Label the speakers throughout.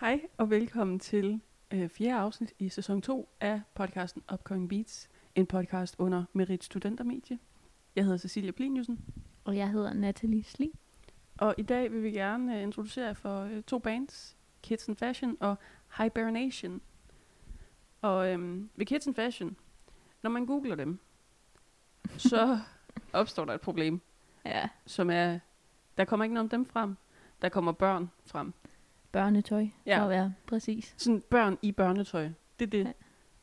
Speaker 1: Hej og velkommen til øh, fjerde afsnit i sæson 2 af podcasten Upcoming Beats, en podcast under Merit Studentermedie. Jeg hedder Cecilia Pliniusen,
Speaker 2: Og jeg hedder Natalie Sli.
Speaker 1: og i dag vil vi gerne øh, introducere jer for øh, to bands, Kids and Fashion og Hibernation. Og øhm, ved Kids and Fashion, når man googler dem, så opstår der et problem,
Speaker 2: Ja.
Speaker 1: som er, der kommer ikke noget om dem frem, der kommer børn frem.
Speaker 2: Børnetøj, ja.
Speaker 1: Ja.
Speaker 2: for at være præcis.
Speaker 1: Sådan børn i børnetøj, det er
Speaker 2: Ja.
Speaker 1: det.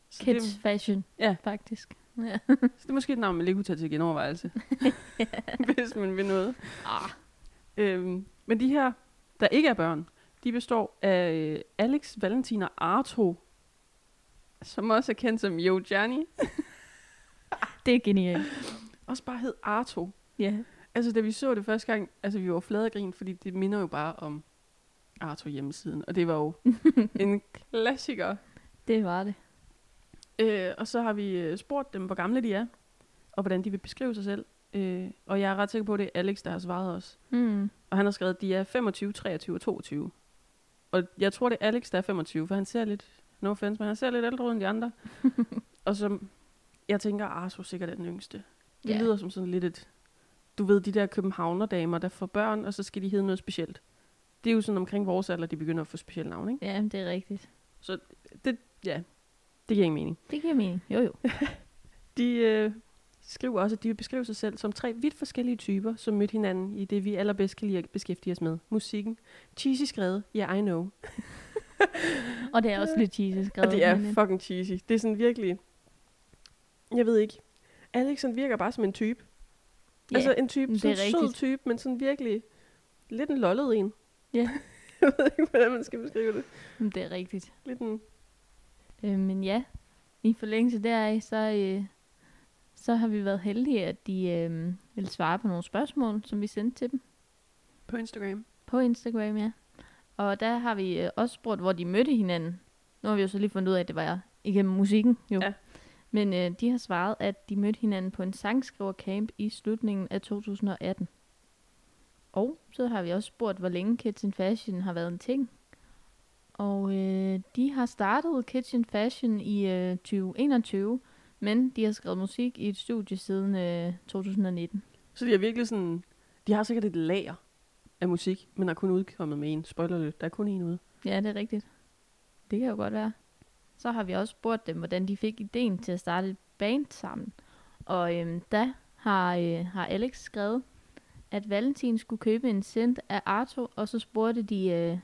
Speaker 1: Så det-
Speaker 2: Kids fashion,
Speaker 1: Ja.
Speaker 2: faktisk. Ja.
Speaker 1: Så det er måske et navn, man lige kunne tage til genovervejelse, hvis man vil noget.
Speaker 2: Ah.
Speaker 1: Øhm, men de her, der ikke er børn, de består af øh, Alex, Valentin og Arto, som også er kendt som Yo Johnny.
Speaker 2: Det er genialt.
Speaker 1: Også bare hed Arto.
Speaker 2: Ja.
Speaker 1: Altså, da vi så det første gang, altså, vi var flade af grin, fordi det minder jo bare om Arto hjemmesiden, og det var jo en klassiker.
Speaker 2: Det var det.
Speaker 1: Øh, og så har vi øh, spurgt dem, hvor gamle de er, og hvordan de vil beskrive sig selv. Øh, og jeg er ret sikker på, at det er Alex, der har svaret os.
Speaker 2: Mm.
Speaker 1: Og han har skrevet, at de er 25, 23 og 22. Og jeg tror, det er Alex, der er 25, for han ser lidt, no offense, men han ser lidt ældre ud end de andre. og så, jeg tænker, Arso sikkert er den yngste. Det
Speaker 2: Ja.
Speaker 1: lyder som sådan lidt et, du ved, de der københavnerdamer, der får børn, og så skal de hedde noget specielt. Det er jo sådan omkring vores alder, de begynder at få specielle navne, ikke?
Speaker 2: Ja, men det er rigtigt.
Speaker 1: Ja, det giver ingen mening.
Speaker 2: Det giver mening. Jo, jo.
Speaker 1: De øh, skriver også, at de vil beskrive sig selv som tre vidt forskellige typer, som mødte hinanden i det, vi allerbedst kan lide at beskæftige os med. Musikken. Cheesy skrevet. Yeah, I know.
Speaker 2: Og det er også lidt cheesy skrevet.
Speaker 1: Og det er
Speaker 2: men, øh,
Speaker 1: fucking cheesy. Det er sådan virkelig... Jeg ved ikke. Alex han virker bare som en type.
Speaker 2: ja.
Speaker 1: altså en type,
Speaker 2: men det
Speaker 1: sådan en
Speaker 2: er
Speaker 1: sød
Speaker 2: rigtigt.
Speaker 1: type, men sådan virkelig lidt en lollet en.
Speaker 2: Ja.
Speaker 1: jeg ved ikke, hvordan man skal beskrive det.
Speaker 2: men det er rigtigt.
Speaker 1: Lidt en...
Speaker 2: Øh, men ja, i forlængelse deraf, så, øh, så har vi været heldige, at de øh, ville svare på nogle spørgsmål, som vi sendte til dem.
Speaker 1: På Instagram.
Speaker 2: På Instagram, ja. Og der har vi øh, også spurgt, hvor de mødte hinanden. Nu har vi jo så lige fundet ud af, at det var igennem musikken, jo.
Speaker 1: Ja.
Speaker 2: Men øh, de har svaret, at de mødte hinanden på en sangskrivercamp i slutningen af 2018. Og så har vi også spurgt, hvor længe Kitchen Fashion har været en ting. Og øh, de har startet Kitchen Fashion i øh, 2021, men de har skrevet musik i et studie siden øh, 2019.
Speaker 1: Så de er virkelig sådan... De har sikkert et lager af musik, men er kun udkommet med en. Spoiler lidt, der er kun en ude.
Speaker 2: Ja, det er rigtigt. Det kan jo godt være. Så har vi også spurgt dem, hvordan de fik ideen til at starte et band sammen. Og øhm, da har, øh, har Alex skrevet, at Valentin skulle købe en cent af Arto, og så spurgte de, øh,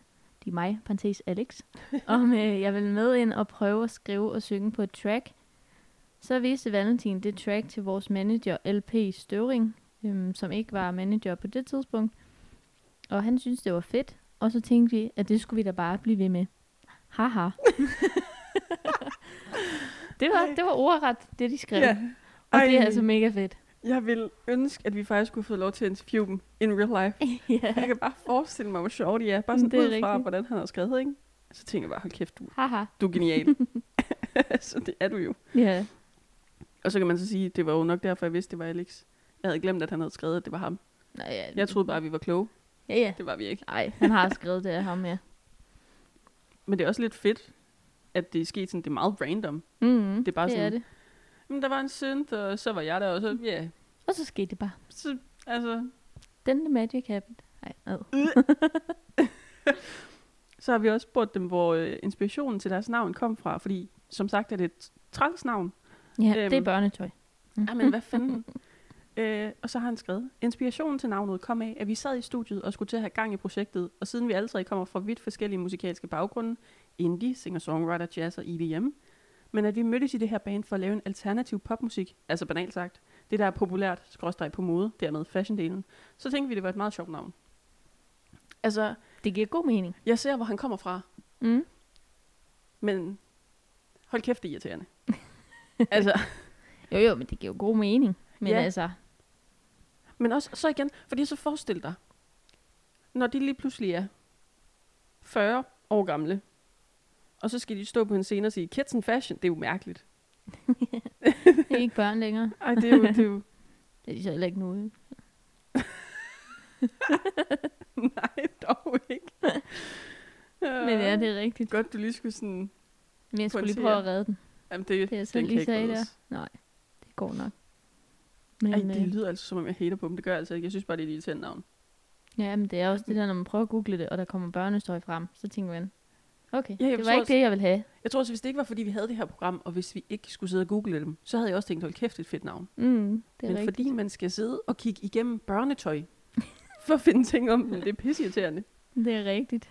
Speaker 2: de mig, parentes Alex, om øh, jeg ville med ind og prøve at skrive og synge på et track. Så viste Valentin det track til vores manager LP Støvring, øhm, som ikke var manager på det tidspunkt. Og han syntes, det var fedt, og så tænkte vi, at det skulle vi da bare blive ved med. Haha. det, var, det var ordret, det de skrev. Ja. Og det er
Speaker 1: Ej.
Speaker 2: altså mega fedt.
Speaker 1: Jeg vil ønske, at vi faktisk kunne få lov til at interviewe dem in real life. Jeg kan bare forestille mig, hvor sjovt de er. Bare sådan
Speaker 2: Det er
Speaker 1: ud fra,
Speaker 2: rigtigt.
Speaker 1: hvordan han har skrevet, ikke? Så tænker jeg bare, hold kæft, du,
Speaker 2: Haha.
Speaker 1: du er genial. så det er du jo.
Speaker 2: Ja.
Speaker 1: Og så kan man så sige, det var jo nok derfor, jeg vidste, det var Alex. Jeg havde glemt, at han havde skrevet, at det var ham.
Speaker 2: Nå, ja.
Speaker 1: Jeg troede bare, at vi var kloge.
Speaker 2: Ja, ja.
Speaker 1: Det var vi ikke.
Speaker 2: Nej, han har skrevet det af ham, ja.
Speaker 1: Men det er også lidt fedt, at det er sket sådan, det er meget random.
Speaker 2: Mm-hmm.
Speaker 1: Det er bare
Speaker 2: det
Speaker 1: sådan-
Speaker 2: Er det.
Speaker 1: Men der var en synth, og så var jeg der, og så, ja, yeah.
Speaker 2: Og så skete det bare.
Speaker 1: så, altså,
Speaker 2: Den the magic happened. Nej, ad.
Speaker 1: Så har vi også spurgt dem, hvor øh, inspirationen til deres navn kom fra, fordi som sagt er det et træls navn.
Speaker 2: Ja, det
Speaker 1: Øhm.
Speaker 2: er børnetøj.
Speaker 1: Jamen, Ah, hvad fanden? øh, og så har han skrevet, inspirationen til navnet kom af, at vi sad i studiet og skulle til at have gang i projektet, og siden vi alle tre kommer fra vidt forskellige musikalske baggrunde, indie, singer-songwriter, jazz og EDM, men at vi mødtes i det her band for at lave en alternativ popmusik, altså banalt sagt, det der er populært, skråstreg på mode, dermed fashion-delen, så tænkte vi, det var et meget sjovt navn. Altså,
Speaker 2: Det giver god mening.
Speaker 1: jeg ser, hvor han kommer fra,
Speaker 2: Mm.
Speaker 1: Men hold kæft, det er irriterende. altså,
Speaker 2: Jo, jo, men det giver jo god mening. Men
Speaker 1: Ja.
Speaker 2: altså,
Speaker 1: men også så igen, fordi så forestil dig, når de lige pludselig er 40 år gamle, og så skal de stå på en scene og sige, kids and fashion, det er jo mærkeligt.
Speaker 2: det er ikke børn længere.
Speaker 1: Ej, det er jo, det er jo
Speaker 2: Det er de så heller ikke nu.
Speaker 1: Øh.
Speaker 2: jo.
Speaker 1: nej, dog ikke.
Speaker 2: Men ja, det er rigtigt.
Speaker 1: Godt, du lige skulle sådan...
Speaker 2: Men jeg skulle lige
Speaker 1: pointere.
Speaker 2: prøve at redde den.
Speaker 1: Jamen, det,
Speaker 2: Det er
Speaker 1: den
Speaker 2: sådan
Speaker 1: kan
Speaker 2: lige
Speaker 1: ikke
Speaker 2: sagde der.
Speaker 1: reddes.
Speaker 2: Nej, det går nok.
Speaker 1: Ej,
Speaker 2: Men,
Speaker 1: det
Speaker 2: øh,
Speaker 1: lyder altså, som om jeg hater på dem. Det gør jeg altså ikke. Jeg synes bare, det er et irriterende navn.
Speaker 2: ja, men det er også det der, når man prøver at google det, og der kommer børnestøj frem, så tænker man, okay,
Speaker 1: Ja, jeg
Speaker 2: det
Speaker 1: forstår
Speaker 2: var ikke
Speaker 1: også-
Speaker 2: det, jeg ville have.
Speaker 1: Jeg tror også, hvis det ikke var, fordi vi havde det her program, og hvis vi ikke skulle sidde og google dem, så havde jeg også tænkt, hold kæft, et fedt navn.
Speaker 2: Mm, det er
Speaker 1: Men
Speaker 2: rigtigt.
Speaker 1: fordi man skal sidde og kigge igennem børnetøj, for at finde ting om dem, det er pisseirriterende.
Speaker 2: Det er rigtigt.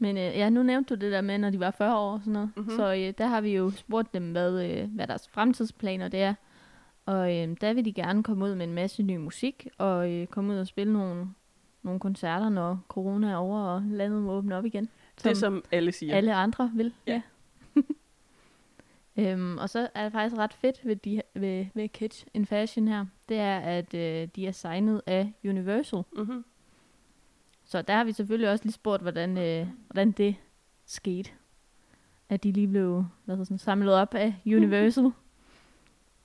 Speaker 2: Men øh, ja, nu nævnte du det der med, når de var 40 år og sådan noget.
Speaker 1: Mhm.
Speaker 2: Mm-hmm. Så øh, der har vi jo spurgt dem, hvad, øh, hvad deres fremtidsplaner det er. Og øh, der vil de gerne komme ud med en masse ny musik, og øh, komme ud og spille nogle, nogle koncerter, når corona er over, og landet må åbne op igen.
Speaker 1: Som det, som alle siger.
Speaker 2: alle andre vil.
Speaker 1: Ja.
Speaker 2: øhm, og så er det faktisk ret fedt ved, de, ved, ved Kitsch in Fashion her, det er, at øh, de er signet af Universal.
Speaker 1: Mm-hmm.
Speaker 2: Så der har vi selvfølgelig også lige spurgt, hvordan, øh, hvordan det skete. At de lige blev hvad hedder sådan, samlet op af Universal.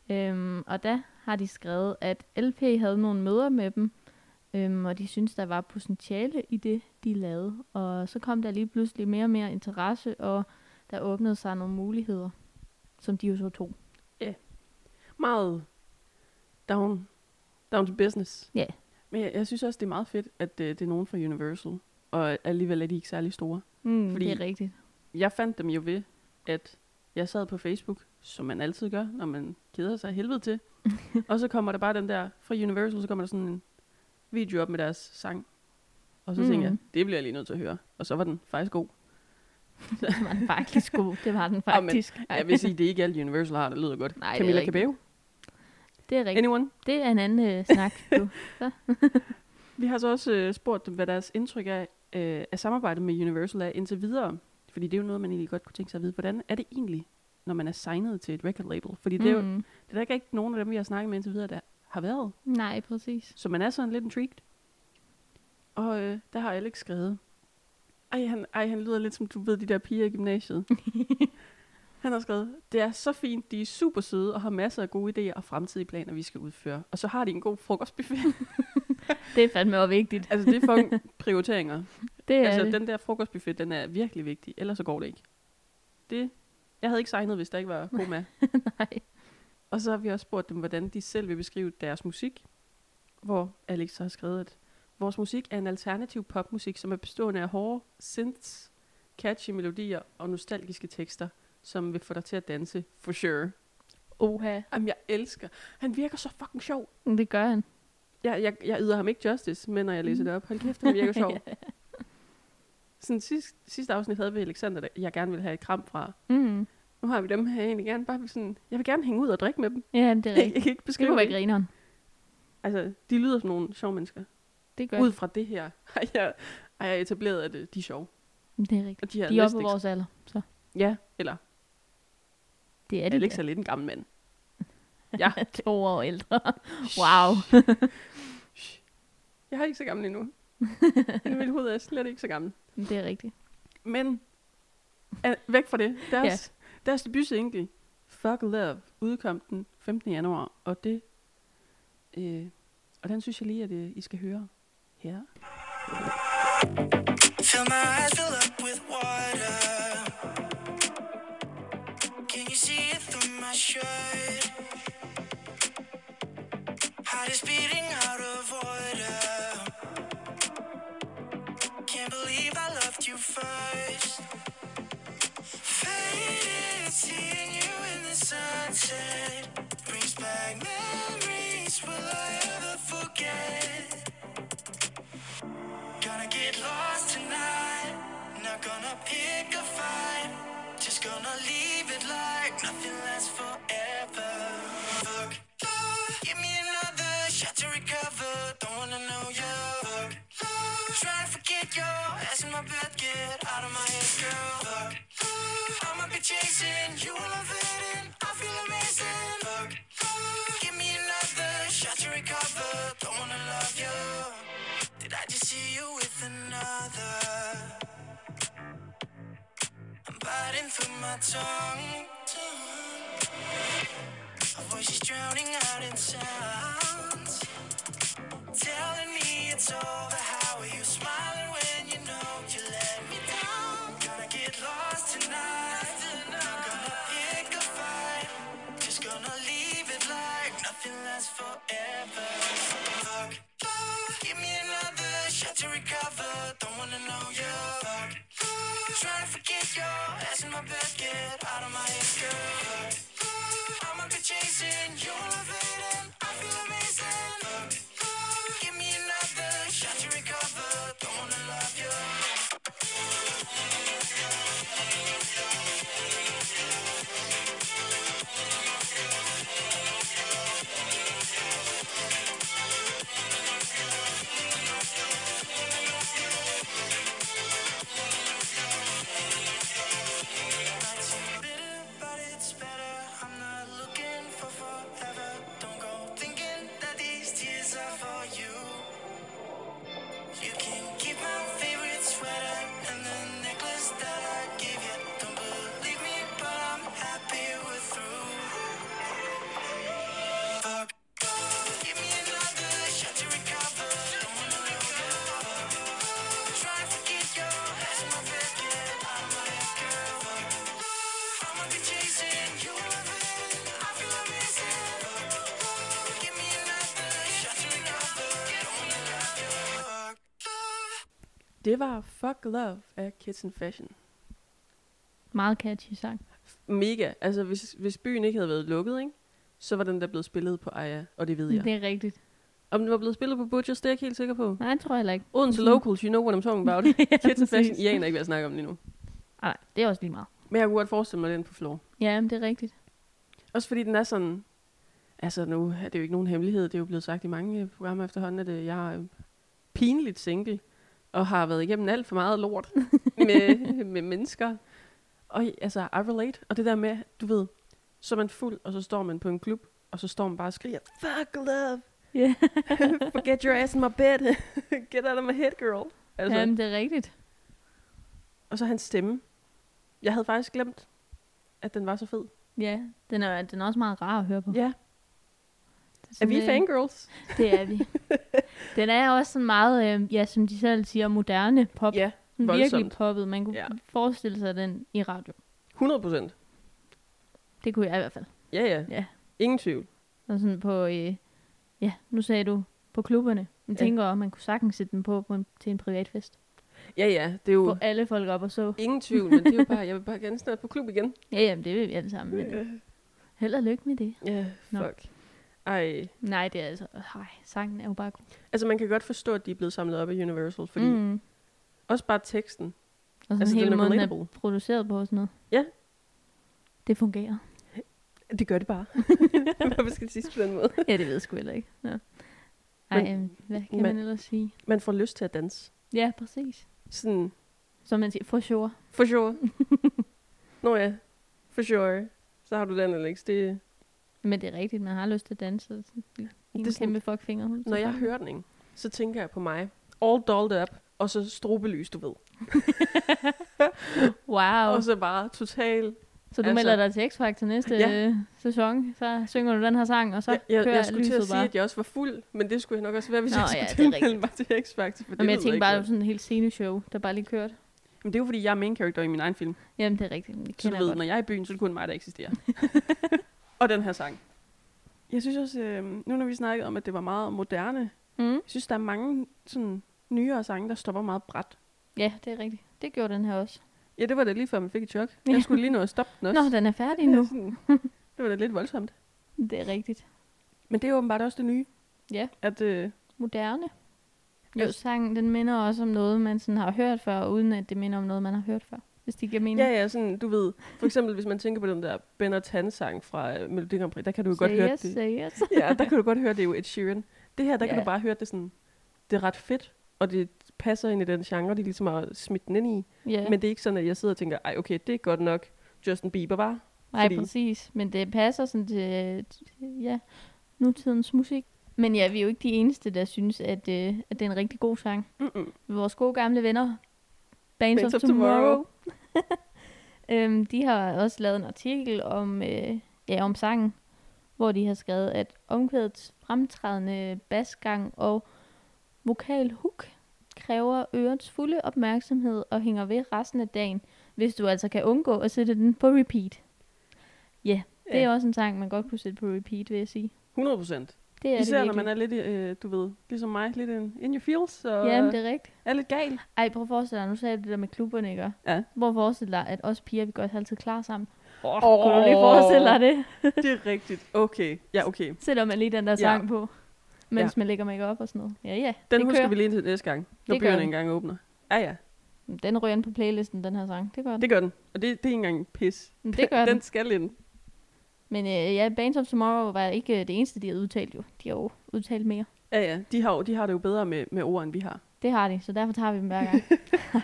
Speaker 2: øhm, og der har de skrevet, at LP havde nogle møder med dem, øhm, og de syntes, der var potentiale i det, de lavede. Og så kom der lige pludselig mere og mere interesse, og der åbnede sig nogle muligheder, som de jo så tog.
Speaker 1: Meget down, down to business.
Speaker 2: Ja.
Speaker 1: Men jeg, jeg synes også, det er meget fedt, at øh, det er nogen fra Universal, og alligevel er de ikke særlig store.
Speaker 2: Mm,
Speaker 1: Fordi-
Speaker 2: Fordi... Det er rigtigt.
Speaker 1: Jeg fandt dem jo ved, at jeg sad på Facebook, som man altid gør, når man keder sig af helvede til. og så kommer der bare den der, fra Universal, så kommer der sådan en video op med deres sang. Og så mm. tænkte jeg,
Speaker 2: Mm.
Speaker 1: det bliver jeg lige nødt til at høre. Og så var den faktisk god.
Speaker 2: Det var den faktisk god. Det var den
Speaker 1: Ah, men-
Speaker 2: faktisk. Ej,
Speaker 1: Jeg vil sige, det er ikke alt Universal har, der lyder godt.
Speaker 2: Nej, det er
Speaker 1: Camilla
Speaker 2: rigtigt.
Speaker 1: Cabello,
Speaker 2: det er rigtigt.
Speaker 1: anyone?
Speaker 2: Det er en anden øh, snak, du.
Speaker 1: Vi har så også øh, spurgt dem, hvad deres indtryk er øh, af samarbejdet med Universal er indtil videre. Fordi det er jo noget, man egentlig godt kunne tænke sig at vide. Hvordan er det egentlig, når man er signet til et record label? Fordi det er jo
Speaker 2: Mm.
Speaker 1: det er der ikke rigtig nogen af dem, vi har snakket med indtil videre, der har været.
Speaker 2: Nej, præcis.
Speaker 1: Så man er sådan lidt intrigued. Og øh, der har Alex skrevet. Ej han, ej, han lyder lidt som, du ved, de der piger i gymnasiet. han har skrevet, det er så fint, de er super søde og har masser af gode idéer og fremtidige planer, vi skal udføre. Og så har de en god frokostbuffet.
Speaker 2: Det er fandme også vigtigt.
Speaker 1: altså, det er fucking prioriteringer.
Speaker 2: Det er
Speaker 1: altså,
Speaker 2: det.
Speaker 1: den der frokostbuffet, den er virkelig vigtig. Ellers så går det ikke. Det, jeg havde ikke signet, hvis der ikke var god mad.
Speaker 2: Nej.
Speaker 1: Og så har vi også spurgt dem, hvordan de selv vil beskrive deres musik. Hvor Alex så har skrevet, at vores musik er en alternativ popmusik, som er bestående af hårde synths, catchy melodier og nostalgiske tekster, som vil få dig til at danse, for sure.
Speaker 2: Oha.
Speaker 1: Jamen, jeg elsker. Han virker så fucking sjov.
Speaker 2: Det gør han.
Speaker 1: Jeg, jeg, jeg yder ham ikke justice, men når jeg læser det op, hold kæft, han virker sjov. Sådan sidst, sidste afsnit havde vi Alexander, der jeg gerne ville have et kram fra.
Speaker 2: Mm.
Speaker 1: Nu har vi dem her, jeg egentlig gerne bare vil sådan, jeg vil gerne hænge ud og drikke med dem.
Speaker 2: Ja, det er
Speaker 1: Jeg,
Speaker 2: rigtigt.
Speaker 1: jeg kan ikke
Speaker 2: Det
Speaker 1: beskrive
Speaker 2: kunne være
Speaker 1: det.
Speaker 2: grineren.
Speaker 1: Altså, de lyder som nogle sjove mennesker.
Speaker 2: Det gør
Speaker 1: Ud fra det her har jeg, har jeg etableret, at øh, de er sjove.
Speaker 2: det. Det er rigtigt.
Speaker 1: Og de, har
Speaker 2: De er
Speaker 1: læst
Speaker 2: oppe på
Speaker 1: ikke-
Speaker 2: vores alder. Så.
Speaker 1: Ja, eller
Speaker 2: Det er
Speaker 1: ja,
Speaker 2: de
Speaker 1: Alex
Speaker 2: der.
Speaker 1: er lidt en gammel mand. Ja,
Speaker 2: to år ældre. Wow.
Speaker 1: jeg er ikke så gammel endnu. I mit hoved er jeg slet ikke så gammel.
Speaker 2: Det er rigtigt.
Speaker 1: Men al- væk fra det. Deres, ja. deres debutsingle, Fuck Love, udkom den 15. januar, og det øh, og den synes jeg lige, at øh, I skal høre her.
Speaker 3: Fill my eyes fill up with water. Can you see it through my shirt? Heart is beating out of order. Can't believe I loved you first. Faded, seeing you in the sunset brings back memories. Will I ever forget? Gonna get lost tonight. Not gonna pick a fight. Just gonna leave it like nothing lasts forever. Fuck love, give me another shot to recover. Don't wanna know you. Fuck love, trying to forget your ass in my bed. Get out of my head, girl. Fuck love, I'ma be chasing you while I'm fading. I feel amazing. Fuck love, give me another shot to recover. Don't wanna love you. Did I just see you with another? I'm biting through my tongue. tongue. My voice is drowning out in sounds. Telling me it's over. How are you smiling when you know you let me forever. Fuck, fuck, give me another shot to recover. Don't wanna know you. Fuck, fuck, trying to forget your ass in my bed, get out of my head, girl. Fuck, fuck, I'ma be chasing your love and I feel amazing. Fuck, fuck, give me another shot to recover. Don't wanna love you. Nights are bitter, but it's better. I'm not looking for forever. Don't go thinking that these tears are for you. You can keep my favorite sweater and the necklace that I gave you. Don't believe me, but I'm happy we're through. Fuck. Give me another shot to recover. Don't wanna let go. Try to forget your ass in my bed, get out of my head, girl. Fuck. I'ma be chasing you I feel amazing. Give me another shot to recover. Don't wanna love you.
Speaker 1: Det var Fuck Love af Kids and Fashion.
Speaker 2: Meget catchy sang.
Speaker 1: Mega. Altså, hvis, hvis byen ikke havde været lukket, ikke? så var den der blevet spillet på Aya, og det ved jeg.
Speaker 2: Det er rigtigt.
Speaker 1: Om den var blevet spillet på Butchers, det er jeg ikke helt sikker på.
Speaker 2: Nej, det tror jeg heller ikke.
Speaker 1: Odense Locals, you know what I'm talking about. Kids and Fashion,
Speaker 2: præcis.
Speaker 1: I aner ikke, hvad jeg snakker om lige nu.
Speaker 2: Nej, det er også lige meget.
Speaker 1: Men jeg kunne godt forestille mig den på floor.
Speaker 2: Ja, men det er rigtigt.
Speaker 1: Også fordi den er sådan... Altså, nu er det jo ikke nogen hemmelighed. Det er jo blevet sagt i mange øh, programmer efterhånden, at øh, jeg er øh, pinligt single, og har været igennem alt for meget lort med, med mennesker. Og altså, I relate. Og det der med, du ved, så er man fuld, og så står man på en klub, og så står man bare og skriger, fuck love,
Speaker 2: Yeah.
Speaker 1: forget your ass in my bed, get out of my head, girl. Altså,
Speaker 2: Jamen, det er rigtigt.
Speaker 1: Og så hans stemme. Jeg havde faktisk glemt, at den var så fed.
Speaker 2: Ja, den er, den er også meget rar at høre på.
Speaker 1: Ja,
Speaker 2: Det
Speaker 1: er
Speaker 2: sådan,
Speaker 1: vi
Speaker 2: øh,
Speaker 1: fangirls?
Speaker 2: Det er vi. Den er også sådan meget, øh, ja, som de selv siger, moderne pop.
Speaker 1: Ja,
Speaker 2: Sådan virkelig
Speaker 1: voldsomt.
Speaker 2: poppet. Man kunne
Speaker 1: Ja.
Speaker 2: ja. forestille sig den i radio.
Speaker 1: 100 procent.
Speaker 2: Det kunne jeg i hvert fald.
Speaker 1: Ja, ja.
Speaker 2: Ja.
Speaker 1: Ingen tvivl.
Speaker 2: Og sådan på, øh, ja, nu sagde du på klubberne. Man
Speaker 1: Ja.
Speaker 2: ja. tænker, at man kunne sagtens sætte den på, på en, til en privatfest.
Speaker 1: Ja, ja, det er jo
Speaker 2: Hvor alle folk op og så.
Speaker 1: ingen tvivl, men det er jo bare, jeg vil bare gerne snart på klub igen.
Speaker 2: Ja, jamen, det vil vi alle sammen. Men
Speaker 1: Øh,
Speaker 2: held og lykke med det.
Speaker 1: Ja,
Speaker 2: Nå.
Speaker 1: fuck. Ej.
Speaker 2: Nej, det er altså... Ej, sangen er jo bare god.
Speaker 1: Altså, man kan godt forstå, at de er blevet samlet op af Universal, fordi mm. også bare teksten.
Speaker 2: Og
Speaker 1: Altså,
Speaker 2: sådan altså,
Speaker 1: den
Speaker 2: hele
Speaker 1: er
Speaker 2: måden er
Speaker 1: relatable.
Speaker 2: produceret på og sådan noget.
Speaker 1: Ja.
Speaker 2: Det fungerer.
Speaker 1: Det gør det bare. Hvorfor skal det siges på den måde?
Speaker 2: ja, det ved jeg sgu heller ikke. Nå. Ej,
Speaker 1: Men-
Speaker 2: men, hvad kan
Speaker 1: men-
Speaker 2: man ellers sige?
Speaker 1: Man får lyst til at danse.
Speaker 2: Ja, præcis.
Speaker 1: Sådan,
Speaker 2: Som man siger, for sure.
Speaker 1: for sure. Nå ja, for sure. Så har du den, Alex. Det,
Speaker 2: Men det er rigtigt, man har lyst til at danse. og sådan En
Speaker 1: Det
Speaker 2: det
Speaker 1: er
Speaker 2: er
Speaker 1: sådan-
Speaker 2: kæmpe fuckfinger.
Speaker 1: Når jeg hører den, ikke, så tænker jeg på mig. All dolled up, og så strobelys, du ved.
Speaker 2: Wow.
Speaker 1: Og så bare total...
Speaker 2: Så du
Speaker 1: altså-
Speaker 2: altså, melder dig til X-Factor til næste
Speaker 1: Ja.
Speaker 2: ja. øh, sæson. Så synger du den her sang, og så
Speaker 1: jeg, jeg,
Speaker 2: kører
Speaker 1: jeg skulle til
Speaker 2: lyset
Speaker 1: at sige,
Speaker 2: bare.
Speaker 1: at jeg også var fuld, men det skulle jeg nok også være, hvis
Speaker 2: Nå,
Speaker 1: jeg
Speaker 2: ja,
Speaker 1: skulle
Speaker 2: det er
Speaker 1: ja, tilmelde mig til X-Factor. for
Speaker 2: Jamen, jeg
Speaker 1: lyder
Speaker 2: tænkte
Speaker 1: ikke
Speaker 2: bare, det var
Speaker 1: godt.
Speaker 2: sådan en helt sceneshow, der bare lige kørte.
Speaker 1: Men det er jo, fordi jeg er main character i min egen film.
Speaker 2: Jamen, det er rigtigt. Det
Speaker 1: Så du
Speaker 2: kender
Speaker 1: ved,
Speaker 2: jeg
Speaker 1: når
Speaker 2: godt.
Speaker 1: jeg er i byen, så er det kun mig, der eksisterer. og den her sang. Jeg synes også, øh, nu når vi snakkede om, at det var meget moderne, jeg
Speaker 2: Mm?
Speaker 1: synes, der er mange sådan, nyere sange, der stopper meget bræt.
Speaker 2: Ja, det er rigtigt. Det gjorde den her også.
Speaker 1: Ja, det var det lige før, man fik et chok. Jeg skulle lige nå at stoppe den også.
Speaker 2: Nå, den er færdig nu.
Speaker 1: Sådan, det var da lidt voldsomt.
Speaker 2: Det er rigtigt.
Speaker 1: Men det er åbenbart også det nye.
Speaker 2: Ja.
Speaker 1: At, øh,
Speaker 2: Moderne. Jo,
Speaker 1: Altså-
Speaker 2: sangen, den minder også om noget, man sådan har hørt før, uden at det minder om noget, man har hørt før. Hvis det giver mening.
Speaker 1: ja, ja, sådan, du ved, for eksempel hvis man tænker på den der Ben og Tan sang fra øh, Melodi Grand Prix, der kan du jo godt
Speaker 2: Say
Speaker 1: høre
Speaker 2: yes,
Speaker 1: det.
Speaker 2: Say yes.
Speaker 1: Ja, der kan du godt høre, det er jo Ed Sheeran. Det her, der kan
Speaker 2: Ja.
Speaker 1: du bare høre det sådan, det er ret fedt, og det passer ind i den genre, de ligesom har smidt den ind i.
Speaker 2: ja.
Speaker 1: Ja. Men det er ikke sådan, at jeg sidder og tænker, ej okay, det er godt nok Justin Bieber, var.
Speaker 2: Nej,
Speaker 1: fordi-
Speaker 2: fordi... præcis. Men det passer sådan til øh, ja, nutidens musik. Men ja, vi er jo ikke de eneste, der synes, at, øh, at det er en rigtig god sang.
Speaker 1: Mm-mm.
Speaker 2: Vores gode gamle venner,
Speaker 1: Bands
Speaker 2: Bands, Bands
Speaker 1: of
Speaker 2: of, Tomorrow, øhm, de har også lavet en artikel om, øh, ja, om sangen, hvor de har skrevet, at omkvædets fremtrædende basgang og vokalhook kræver ørets fulde opmærksomhed og hænger ved resten af dagen, hvis du altså kan undgå at sætte den på repeat. Ja, yeah, det
Speaker 1: Ja.
Speaker 2: er også en sang, man godt kunne sætte på repeat, vil jeg sige.
Speaker 1: 100 procent.
Speaker 2: Det er
Speaker 1: Især
Speaker 2: det
Speaker 1: når
Speaker 2: virkelig.
Speaker 1: man er lidt, øh, du ved, ligesom mig, lidt in, in your feels, og
Speaker 2: Jamen, det er rigtigt.
Speaker 1: er lidt gal.
Speaker 2: Ej, prøv at forestille dig, nu sagde du det der med klubberne, ikke?
Speaker 1: Ja.
Speaker 2: Prøv at forestille dig, at os piger, vi går altid klar sammen.
Speaker 1: Åh,
Speaker 2: Oh. Kunne du lige forestille dig det?
Speaker 1: Det er rigtigt. Okay, ja okay.
Speaker 2: Sætter man lige den der
Speaker 1: Ja.
Speaker 2: sang på, mens man lægger make op og sådan noget. Ja, ja,
Speaker 1: Den
Speaker 2: det
Speaker 1: husker
Speaker 2: kører.
Speaker 1: vi lige til næste gang, når
Speaker 2: Det gør
Speaker 1: byerne
Speaker 2: vi.
Speaker 1: engang åbner. Ja ja,
Speaker 2: Den ryger ind på playlisten, den her sang. Det gør den.
Speaker 1: det gør den. Og det, det er ikke engang pis.
Speaker 2: Men det gør
Speaker 1: den.
Speaker 2: den.
Speaker 1: skal ind.
Speaker 2: Men øh, ja, Bands of Tomorrow var ikke øh, det eneste, de havde udtalt jo. De har jo udtalt mere.
Speaker 1: Ja ja, de har, jo- de har det jo bedre med, med ord, end vi har.
Speaker 2: Det har de, så derfor tager vi dem hver gang.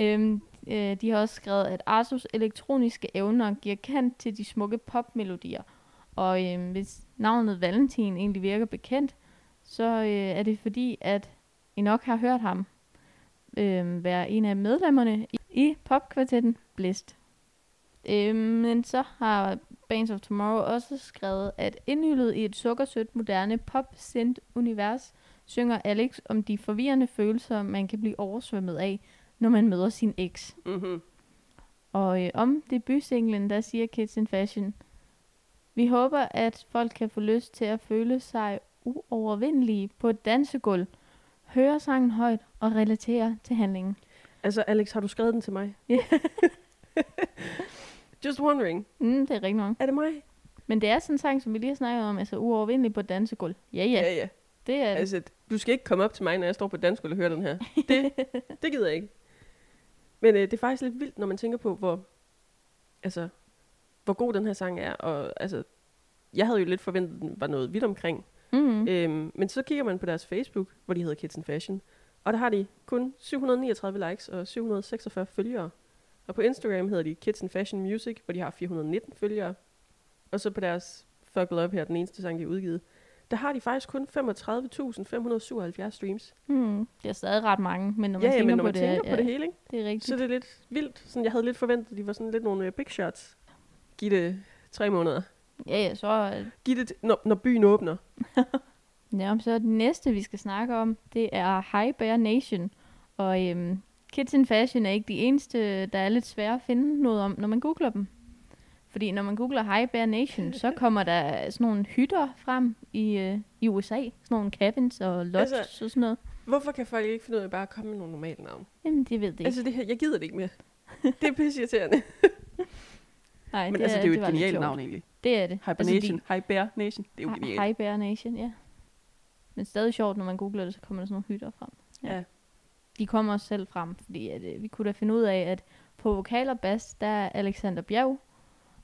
Speaker 2: øhm, øh, de har også skrevet, at Arthurs elektroniske evner giver kant til de smukke popmelodier. Og øhm, hvis navnet Valentin egentlig virker bekendt, så øh, er det fordi, at I nok har hørt ham øhm, være en af medlemmerne i, i popkvartetten Blist. Øhm, men så har Bands of Tomorrow også skrevet, at indhyllet i et sukkersødt moderne pop-synth-univers, synger Alex om de forvirrende følelser, man kan blive oversvømmet af, når man møder sin eks.
Speaker 1: Mm-hmm.
Speaker 2: Og øh, om debutsinglen, der siger Kids in Fashion, vi håber, at folk kan få lyst til at føle sig uovervindelige på et dansegulv, høre sangen højt og relatere til handlingen.
Speaker 1: Altså, Alex, har du skrevet den til mig?
Speaker 2: Ja.
Speaker 1: Just wondering,
Speaker 2: Mm, det er rigtigt nok.
Speaker 1: er det mig?
Speaker 2: Men det er sådan en sang, som vi lige har snakket om, altså uovervindelig på et dansegulv. Ja, ja,
Speaker 1: ja. ja.
Speaker 2: det er det.
Speaker 1: Altså, du skal ikke komme op til mig, når jeg står på dansk og hører den her. Det, det gider jeg ikke. Men øh, det er faktisk lidt vildt, når man tænker på, hvor, altså, hvor god den her sang er. Og, altså, jeg havde jo lidt forventet, den var noget vidt omkring.
Speaker 2: Mm.
Speaker 1: Mm. Øhm, men så kigger man på deres Facebook, hvor de hedder Kids in Fashion. Og der har de kun 739 likes og 746 følgere. Og på Instagram hedder de Kids in Fashion Music, hvor de har 419 følgere. Og så på deres Fuck Love her, den eneste sang, de har udgivet, der har de faktisk kun 35.577 streams.
Speaker 2: Mm. Det er stadig ret mange, men når man
Speaker 1: ja, ja,
Speaker 2: tænker,
Speaker 1: men når
Speaker 2: på,
Speaker 1: man
Speaker 2: det,
Speaker 1: tænker på
Speaker 2: ja,
Speaker 1: det hele, ikke?
Speaker 2: det er rigtigt.
Speaker 1: så er det lidt vildt. Sådan, jeg havde lidt forventet, at de var sådan lidt nogle øh, big shots. Giv det tre måneder.
Speaker 2: Ja, ja, så er
Speaker 1: Giv det, t- når, når byen åbner.
Speaker 2: Ja, så det næste, vi skal snakke om, det er High Bear Nation. Og øhm, Kids in Fashion er ikke de eneste, der er lidt svære at finde noget om, når man googler dem. Fordi når man googler High Bear Nation, så kommer der sådan nogle hytter frem i, øh, i USA. Sådan nogle cabins og lodges
Speaker 1: Altså-
Speaker 2: altså, og sådan noget.
Speaker 1: Hvorfor kan folk ikke finde ud af bare at komme med nogle normale navne?
Speaker 2: Jamen, det ved det
Speaker 1: Det.
Speaker 2: ikke. Altså,
Speaker 1: Altså det her, jeg gider det ikke mere. Det er pisseirriterende.
Speaker 2: Nej,
Speaker 1: Men det, altså, det er jo et
Speaker 2: var lidt
Speaker 1: genialt
Speaker 2: sjovt.
Speaker 1: navn egentlig.
Speaker 2: Det er det.
Speaker 1: Hibernation. Altså, Hyper Nation. Det er jo
Speaker 2: Altså, de,
Speaker 1: genialt.
Speaker 2: High Bear Nation, ja. Men stadig sjovt, når man googler det, så kommer der sådan nogle hytter frem.
Speaker 1: Ja.
Speaker 2: de kommer også selv frem, fordi at, øh, vi kunne da finde ud af, at på vokal og bas, der er Alexander Bjerg,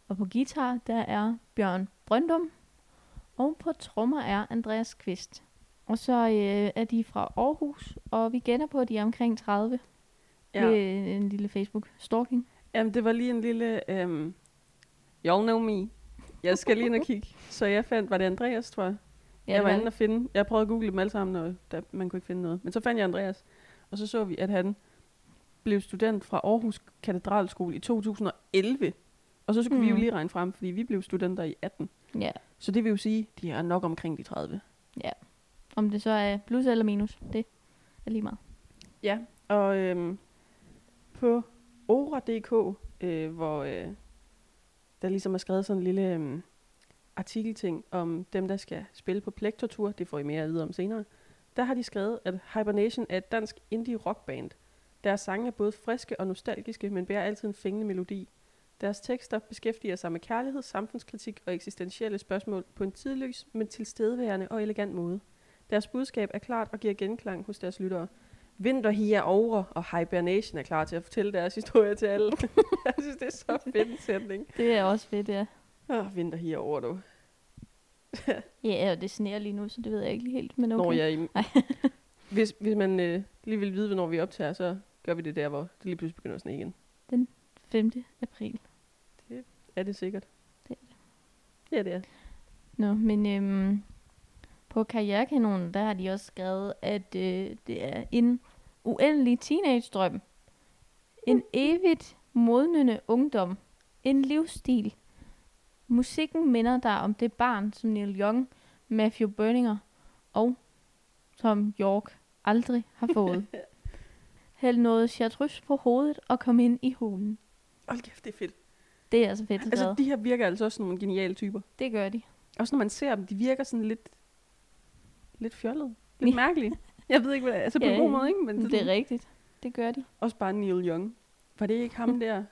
Speaker 2: og på guitar, der er Bjørn Brøndum, og på trommer er Andreas Kvist. Og så øh, er de fra Aarhus, og vi gætter på, at de er omkring 30 ja. ved
Speaker 1: Ja.
Speaker 2: øh, en lille Facebook-stalking.
Speaker 1: Jamen, det var lige en lille... Øhm, y'all know me. Jeg skal lige ind og kigge. Så jeg fandt, var det Andreas, tror jeg? Ja, jeg
Speaker 2: det
Speaker 1: var
Speaker 2: var
Speaker 1: inde og finde. Jeg prøvede at google dem alle sammen, og der, man kunne ikke finde noget. Men så fandt jeg Andreas, og så så vi, at han blev student fra Aarhus Katedralskole i 2011. Og så skulle mm. vi jo
Speaker 2: Mm.
Speaker 1: lige regne frem, fordi vi blev studenter i 18.
Speaker 2: det. Ja,
Speaker 1: Så det vil jo sige, de er nok omkring de 30.
Speaker 2: om det så er plus eller minus, det er lige meget.
Speaker 1: Ja, og øhm, på ora.dk, øh, hvor øh, der ligesom er skrevet sådan en lille øhm, artikelting om dem, der skal spille på Plektortur, det får I mere at vide om senere, der har de skrevet, at Hibernation er et dansk indie rockband. Deres sange er både friske og nostalgiske, men bærer altid en fængende melodi. Deres tekster beskæftiger sig med kærlighed, samfundskritik og eksistentielle spørgsmål på en tidløs, men tilstedeværende og elegant måde. Deres budskab er klart og giver genklang hos deres lyttere. Vinterhi er over, og Hibernation er klar til at fortælle deres historie til alle. Jeg synes, det er så fedt en sætning.
Speaker 2: Det er også fedt, ja.
Speaker 1: Åh, Vinterhi er over, du.
Speaker 2: Ja, og det sneer lige nu, så det ved jeg ikke lige helt, men okay.
Speaker 1: Når jeg er i... Hvis, hvis man øh, lige vil vide, hvornår vi optager, så gør vi det der, hvor det lige pludselig begynder at sne igen.
Speaker 2: 5. april.
Speaker 1: Er det sikkert?
Speaker 2: Det
Speaker 1: er det. Ja, det er.
Speaker 2: Nå, men øhm, på Karrierekanonen, der har de også skrevet, at øh, det er en uendelig teenage-drøm. En evigt modnende ungdom. En livsstil. Musikken minder dig om det barn, som Neil Young, Matthew Berninger og Tom York aldrig har fået. Hæld noget chartreuse på hovedet og kom ind i hulen.
Speaker 1: Hold kæft, det er fedt.
Speaker 2: Det er altså fedt skrevet.
Speaker 1: Altså, de her virker altså også som nogle geniale typer.
Speaker 2: Det gør de.
Speaker 1: Også når man ser dem, de virker sådan lidt, lidt fjollede. Lidt
Speaker 2: Ja.
Speaker 1: mærkelige. Jeg ved ikke, hvad Altså på
Speaker 2: Ja,
Speaker 1: en god
Speaker 2: ja.
Speaker 1: måde, ikke? Men
Speaker 2: Men det er rigtigt. Det gør de.
Speaker 1: Også bare Neil Young. Var det ikke ham der?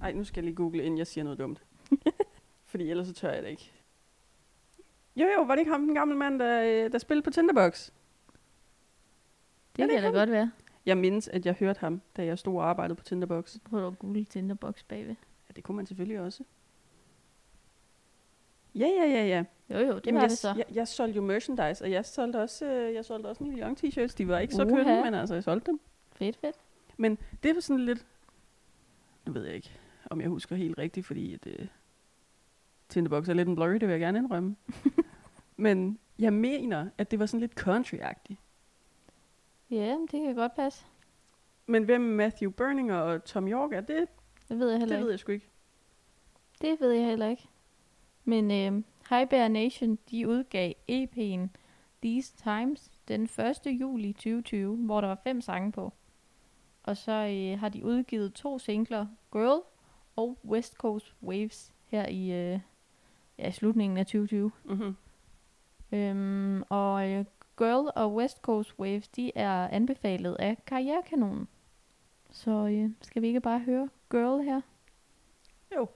Speaker 1: Nej, nu skal jeg lige google, inden jeg siger noget dumt. Fordi ellers så tør jeg det ikke. Jo, jo, var det ikke ham, den gamle mand, der, øh, der spillede på Tinderbox?
Speaker 2: Det
Speaker 1: det
Speaker 2: kan da
Speaker 1: kan
Speaker 2: godt være.
Speaker 1: Jeg mindes, at jeg hørte ham, da jeg stod og arbejdede på Tinderbox.
Speaker 2: Prøv at google Tinderbox bagved.
Speaker 1: Ja, det kunne man selvfølgelig også. Ja, ja, ja, ja.
Speaker 2: Jo jo, det
Speaker 1: Jamen,
Speaker 2: var
Speaker 1: jeg,
Speaker 2: det så.
Speaker 1: Jeg, jeg solgte jo merchandise, og jeg solgte også, øh, jeg solgte også Neil Young t-shirts. De var ikke så
Speaker 2: Uha.
Speaker 1: kønne, men altså, jeg solgte dem.
Speaker 2: Fedt, fedt.
Speaker 1: Det var sådan lidt... Nu ved jeg ikke, om jeg husker helt rigtigt, fordi at, øh, Tinderbox er lidt en blurry, det vil jeg gerne indrømme. Men jeg mener, at det var sådan lidt country -agtigt.
Speaker 2: Ja, men det kan godt passe.
Speaker 1: Men hvem Matthew Berninger og Tom York er, det,
Speaker 2: Det ved jeg heller
Speaker 1: det
Speaker 2: ikke.
Speaker 1: ved jeg sgu ikke.
Speaker 2: Det ved jeg heller ikke. Men øh, High Bear Nation, de udgav EP'en These Times den 1. juli 2020, hvor der var fem sange på. Og så øh, har de udgivet to singler, Girl og West Coast Waves, her i øh, ja, slutningen af 2020.
Speaker 1: Mm-hmm.
Speaker 2: Øhm, og øh, Girl og West Coast Waves, de er anbefalet af Karrierekanonen. Så øh, skal vi ikke bare høre Girl her?
Speaker 1: Jo.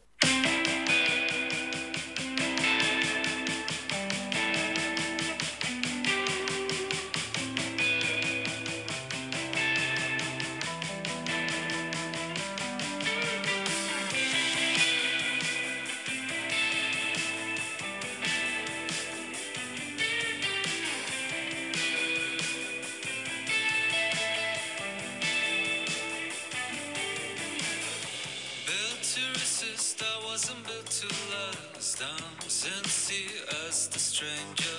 Speaker 4: Built to resist, I wasn't built to last. I'm sincere as the stranger.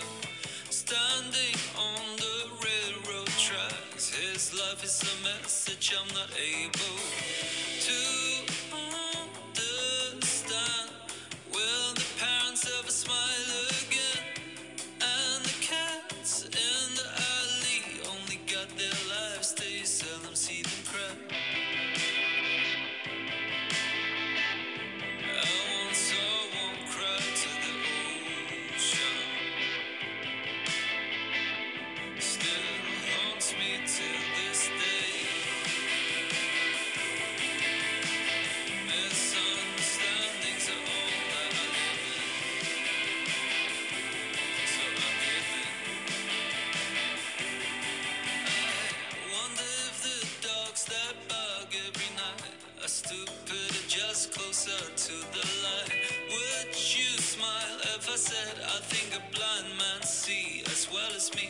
Speaker 4: Standing on the railroad tracks. His life is a message I'm not able to understand. Will the parents ever smile again? And the cats in the alley only got their lives, they seldom see them cry. I want someone cry to the ocean. Still haunts me till this day. Misunderstandings are all that I live in. So I'm giving. Wonder if the dogs that bug every night are stupid or just closer to the light. Would you smile if I said I think a blind man see as well as me?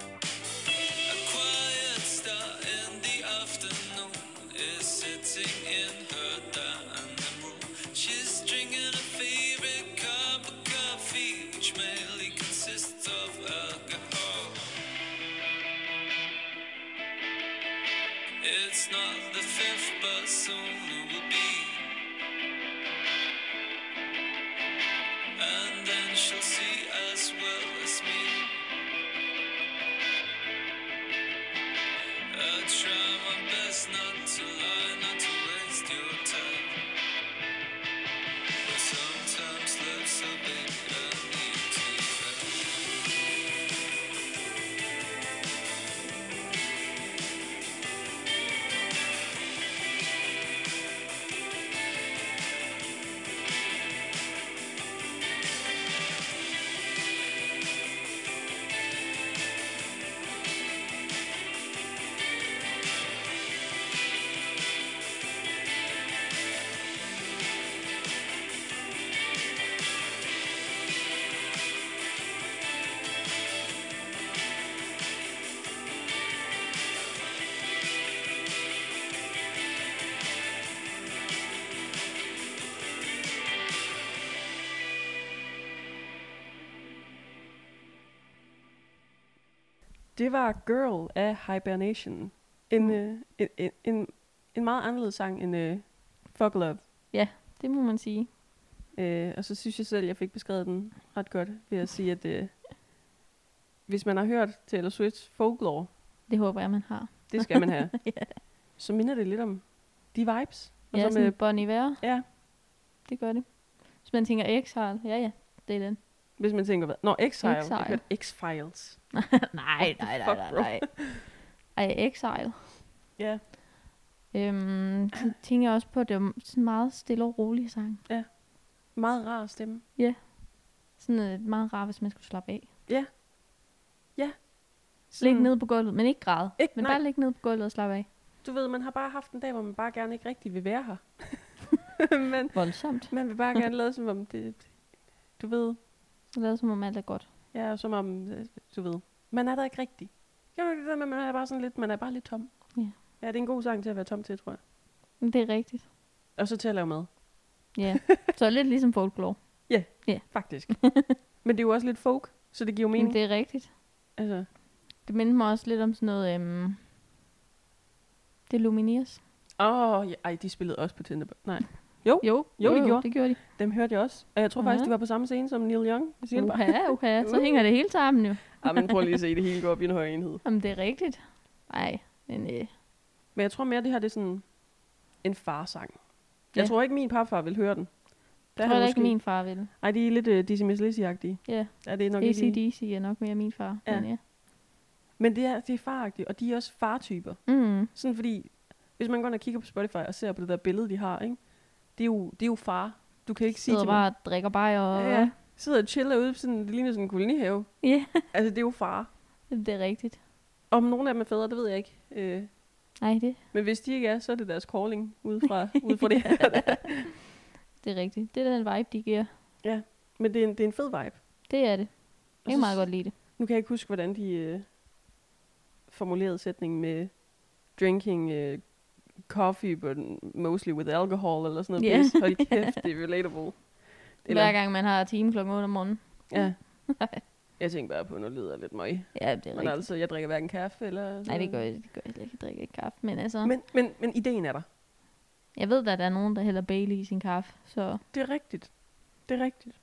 Speaker 4: A quiet star in the afternoon is sitting in her dining room. She's drinking her favorite cup of coffee, which mainly consists of alcohol. It's not the fifth, but soon it will be. And then she'll see as well as me. I try my best not to lie, not to waste your time. But sometimes life's so big, I need to rest.
Speaker 1: Det var Girl af Hibernation. En, mm. øh, en, en, en, en meget anderledes sang end øh, Fuck Love.
Speaker 2: Det må man sige.
Speaker 1: Øh, og så synes jeg selv, at jeg fik beskrevet den ret godt ved at sige, at øh, hvis man har hørt Taylor Swift's folklore,
Speaker 2: Det håber jeg, man har.
Speaker 1: det skal man have, så minder det lidt om de vibes. Og
Speaker 2: Ja,
Speaker 1: så med,
Speaker 2: sådan Bon Iver,
Speaker 1: ja,
Speaker 2: det gør det. Hvis man tænker Exile, ja ja, det er den.
Speaker 1: Hvis man tænker, hvad? Nå, Exile. Exile. Jeg
Speaker 2: Exile.
Speaker 1: hørte X-Files.
Speaker 2: nej, nej, nej,
Speaker 1: fuck,
Speaker 2: nej,
Speaker 1: bro?
Speaker 2: nej. Ej, Exile.
Speaker 1: Ja,
Speaker 2: Øhm, så tænker jeg også på, at det var sådan en meget stille og rolig sang.
Speaker 1: meget rar stemme.
Speaker 2: Sådan øh, meget rart, hvis man skulle slappe af.
Speaker 1: Sådan-
Speaker 2: Læg ned på gulvet, men ikke græde.
Speaker 1: Ikke-
Speaker 2: men
Speaker 1: nej.
Speaker 2: bare ligge ned på gulvet og slappe af.
Speaker 1: Du ved, man har bare haft en dag, hvor man bare gerne ikke rigtig vil være her. Men
Speaker 2: Voldsomt.
Speaker 1: man vil bare gerne lade som om det... Du ved,
Speaker 2: Så lad som om alt er godt.
Speaker 1: jeg er som om... øh, Du ved, man er der ikke rigtig. Jeg ved, det der med, man er bare sådan lidt... Man er bare lidt tom.
Speaker 2: Ja.
Speaker 1: Ja, det er en god sang til at være tom til, tror jeg.
Speaker 2: Men Det er rigtigt.
Speaker 1: Og så til at lave mad,
Speaker 2: Ja. så lidt ligesom folklore.
Speaker 1: faktisk. Men det er jo også lidt folk, så det giver jo mening.
Speaker 2: Men
Speaker 1: Det...
Speaker 2: det er rigtigt.
Speaker 1: Altså,
Speaker 2: Det minder mig også lidt om sådan noget, øhm, det er Lumineers.
Speaker 1: åh, oh, ja, ej, de spillede også på Tinder. Nej,
Speaker 2: Jo,
Speaker 1: Jo, det gjorde.
Speaker 2: det gjorde de.
Speaker 1: dem hørte jeg også. Og jeg tror faktisk,
Speaker 2: Ja.
Speaker 1: de var på samme scene som Neil Young. Jeg siger det bare.
Speaker 2: Mhm. Uha, uha, så hænger det hele sammen jo.
Speaker 1: Ej, men prøv lige at se, det hele går op i en høj enhed.
Speaker 2: Jamen, det er rigtigt. Nej, men øh,
Speaker 1: Men jeg tror mere, det her det er sådan en farsang. Ja.
Speaker 2: Ja.
Speaker 1: Jeg tror ikke, min papfar vil høre den.
Speaker 2: det tror jeg ikke min far ville.
Speaker 1: Ej, de er lidt uh, Dizzy Miss Lizzy-agtige.
Speaker 2: Ja,
Speaker 1: Ja, det er nok ikke... lige-
Speaker 2: ACDC er nok mere min far.
Speaker 1: Ja.
Speaker 2: Men ja.
Speaker 1: Men det er, det er faragtigt, og de er også fartyper.
Speaker 2: Mm,
Speaker 1: Sådan fordi, hvis man går ind og kigger på Spotify og ser på det der billede, de har, ikke? Det er jo, det er jo far. Du kan ikke sige
Speaker 2: sidder
Speaker 1: til mig.
Speaker 2: bare og drikker bajer og...
Speaker 1: Ja, ja. Sidder og chiller ude, på sådan, det ligner sådan en kolonihave.
Speaker 2: ja,
Speaker 1: Altså, det er jo far.
Speaker 2: det er rigtigt.
Speaker 1: Om nogen af dem er fædre, det ved jeg ikke. Øh,
Speaker 2: Nej, det,
Speaker 1: men hvis de ikke er, så er det deres calling ud fra, ud fra det her.
Speaker 2: det er rigtigt. Det er den vibe, de giver.
Speaker 1: Men det er, en, det er en fed vibe.
Speaker 2: Det er det.
Speaker 1: Og
Speaker 2: Jeg kan
Speaker 1: så-
Speaker 2: meget godt lide det.
Speaker 1: Nu kan jeg ikke huske, hvordan de øh, formulerede sætningen med drinking øh, coffee, but mostly with alcohol, eller sådan noget.
Speaker 2: Ja.
Speaker 1: Yeah. Hold kæft, det er relatable. Eller,
Speaker 2: Hver gang man har time klokken 8 om morgenen.
Speaker 1: Ja. Jeg tænker bare på, at nu lyder jeg lidt møg.
Speaker 2: Ja, det er
Speaker 1: Men
Speaker 2: rigtigt.
Speaker 1: altså, jeg drikker hverken kaffe eller...
Speaker 2: Nej, det gør jeg, det gør jeg heller ikke. Jeg drikker ikke kaffe. Men altså,
Speaker 1: Men, men, men ideen er der.
Speaker 2: jeg ved, at der er nogen, der hælder Bailey i sin kaffe. Så
Speaker 1: Det er rigtigt. Det er rigtigt.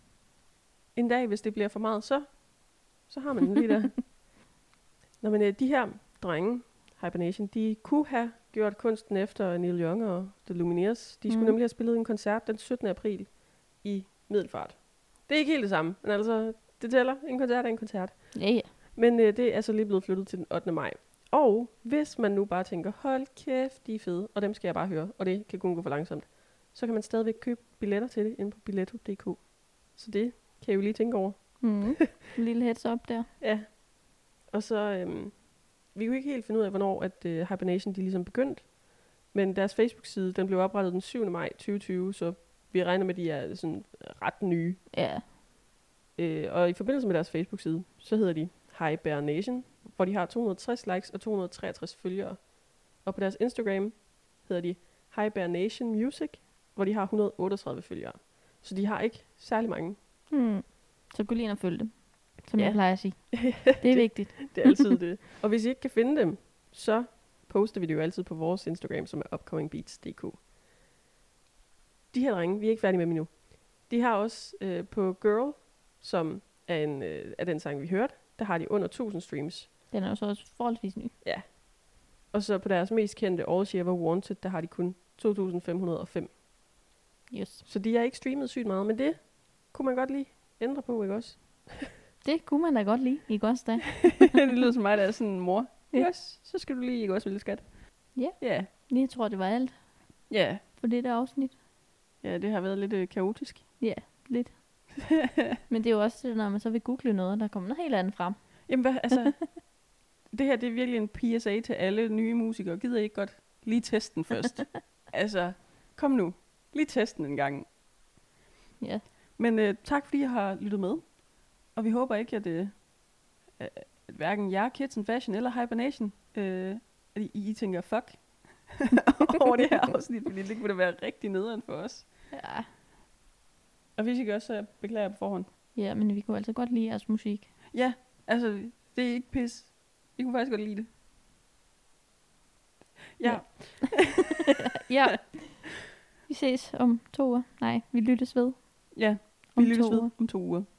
Speaker 1: En dag, hvis det bliver for meget, så, så har man den lige der. Nå, men øh, de her drenge, Hibernation, de kunne have gjort kunsten efter Neil Young og The Lumineers. De skulle
Speaker 2: Mhm.
Speaker 1: mm. nemlig have spillet en koncert den 17. april i Middelfart. Det er ikke helt det samme, men altså, det tæller. En koncert er en koncert.
Speaker 2: ja, ja.
Speaker 1: Men øh, det er så lige blevet flyttet til den 8. maj. Og hvis man nu bare tænker, hold kæft, de er fede, og dem skal jeg bare høre, og det kan kun gå for langsomt, så kan man stadigvæk købe billetter til det inde på billetto.dk. Så det kan I jo lige tænke over.
Speaker 2: Mm. En lille heads up der.
Speaker 1: Ja. Og så, øhm, vi kunne ikke helt finde ud af, hvornår at øh, Hibernation de er ligesom begyndt, men deres Facebook-side, den blev oprettet den 7. maj 2020, så vi regner med, at de er sådan ret nye.
Speaker 2: Ja.
Speaker 1: Øh, og i forbindelse med deres Facebook-side, så hedder de Hi Bear Nation, hvor de har 260 likes og 263 følgere. Og på deres Instagram hedder de Hi Bear Nation Music, hvor de har 138 følgere. Så de har ikke særlig mange.
Speaker 2: Mm. Så gå lige ind og følg dem. Som
Speaker 1: Ja.
Speaker 2: ja. jeg plejer at sige. Det er vigtigt.
Speaker 1: Det er altid det. Og hvis I ikke kan finde dem, så poster vi det jo altid på vores Instagram, som er upcomingbeats.dk. De her drenge, vi er ikke færdige med dem endnu. De har også øh, på Girl, som er, en, øh, er den sang, vi hørte, der har de under 1000 streams.
Speaker 2: Den er jo så også forholdsvis ny.
Speaker 1: Og så på deres mest kendte All She Ever Wanted, der har de kun 2.505.
Speaker 2: Yes.
Speaker 1: Så de har ikke streamet sygt meget, men det kunne man godt lige ændre på, ikke også?
Speaker 2: Det kunne man da godt lide i godt dag.
Speaker 1: det lyder som mig, der er sådan en mor.
Speaker 2: Ja.
Speaker 1: Yes, så skal du lige, ikke også, lille skat?
Speaker 2: Ja.
Speaker 1: Ja.
Speaker 2: Jeg tror, det var alt
Speaker 1: Ja.
Speaker 2: for det der afsnit.
Speaker 1: Ja, det har været lidt øh, kaotisk.
Speaker 2: Lidt. Men det er jo også det, når man så vil google noget, der kommer noget helt andet frem.
Speaker 1: Jamen, hvad, altså... det her, det er virkelig en PSA til alle nye musikere. Gider I ikke godt lige teste den først? altså, kom nu. Lige test den en gang.
Speaker 2: Ja.
Speaker 1: Men øh, tak, fordi I har lyttet med. Og vi håber ikke, at, øh, at hverken jer, Kids and Fashion eller Hibernation, øh, at I, I tænker, fuck, over det her afsnit, fordi det kunne da være rigtig nederen for os.
Speaker 2: Ja.
Speaker 1: Og hvis I gør, så beklager jeg øh, på forhånd.
Speaker 2: ja, men vi kunne altså godt lide jeres musik.
Speaker 1: Ja, altså, det er ikke pis. I kunne faktisk godt lide det. Ja,
Speaker 2: Ja. Ja. Vi ses om to uger. Nej, vi lyttes ved.
Speaker 1: ja. Vi
Speaker 2: Om
Speaker 1: lyttes
Speaker 2: to
Speaker 1: ved
Speaker 2: uger.
Speaker 1: om to uger.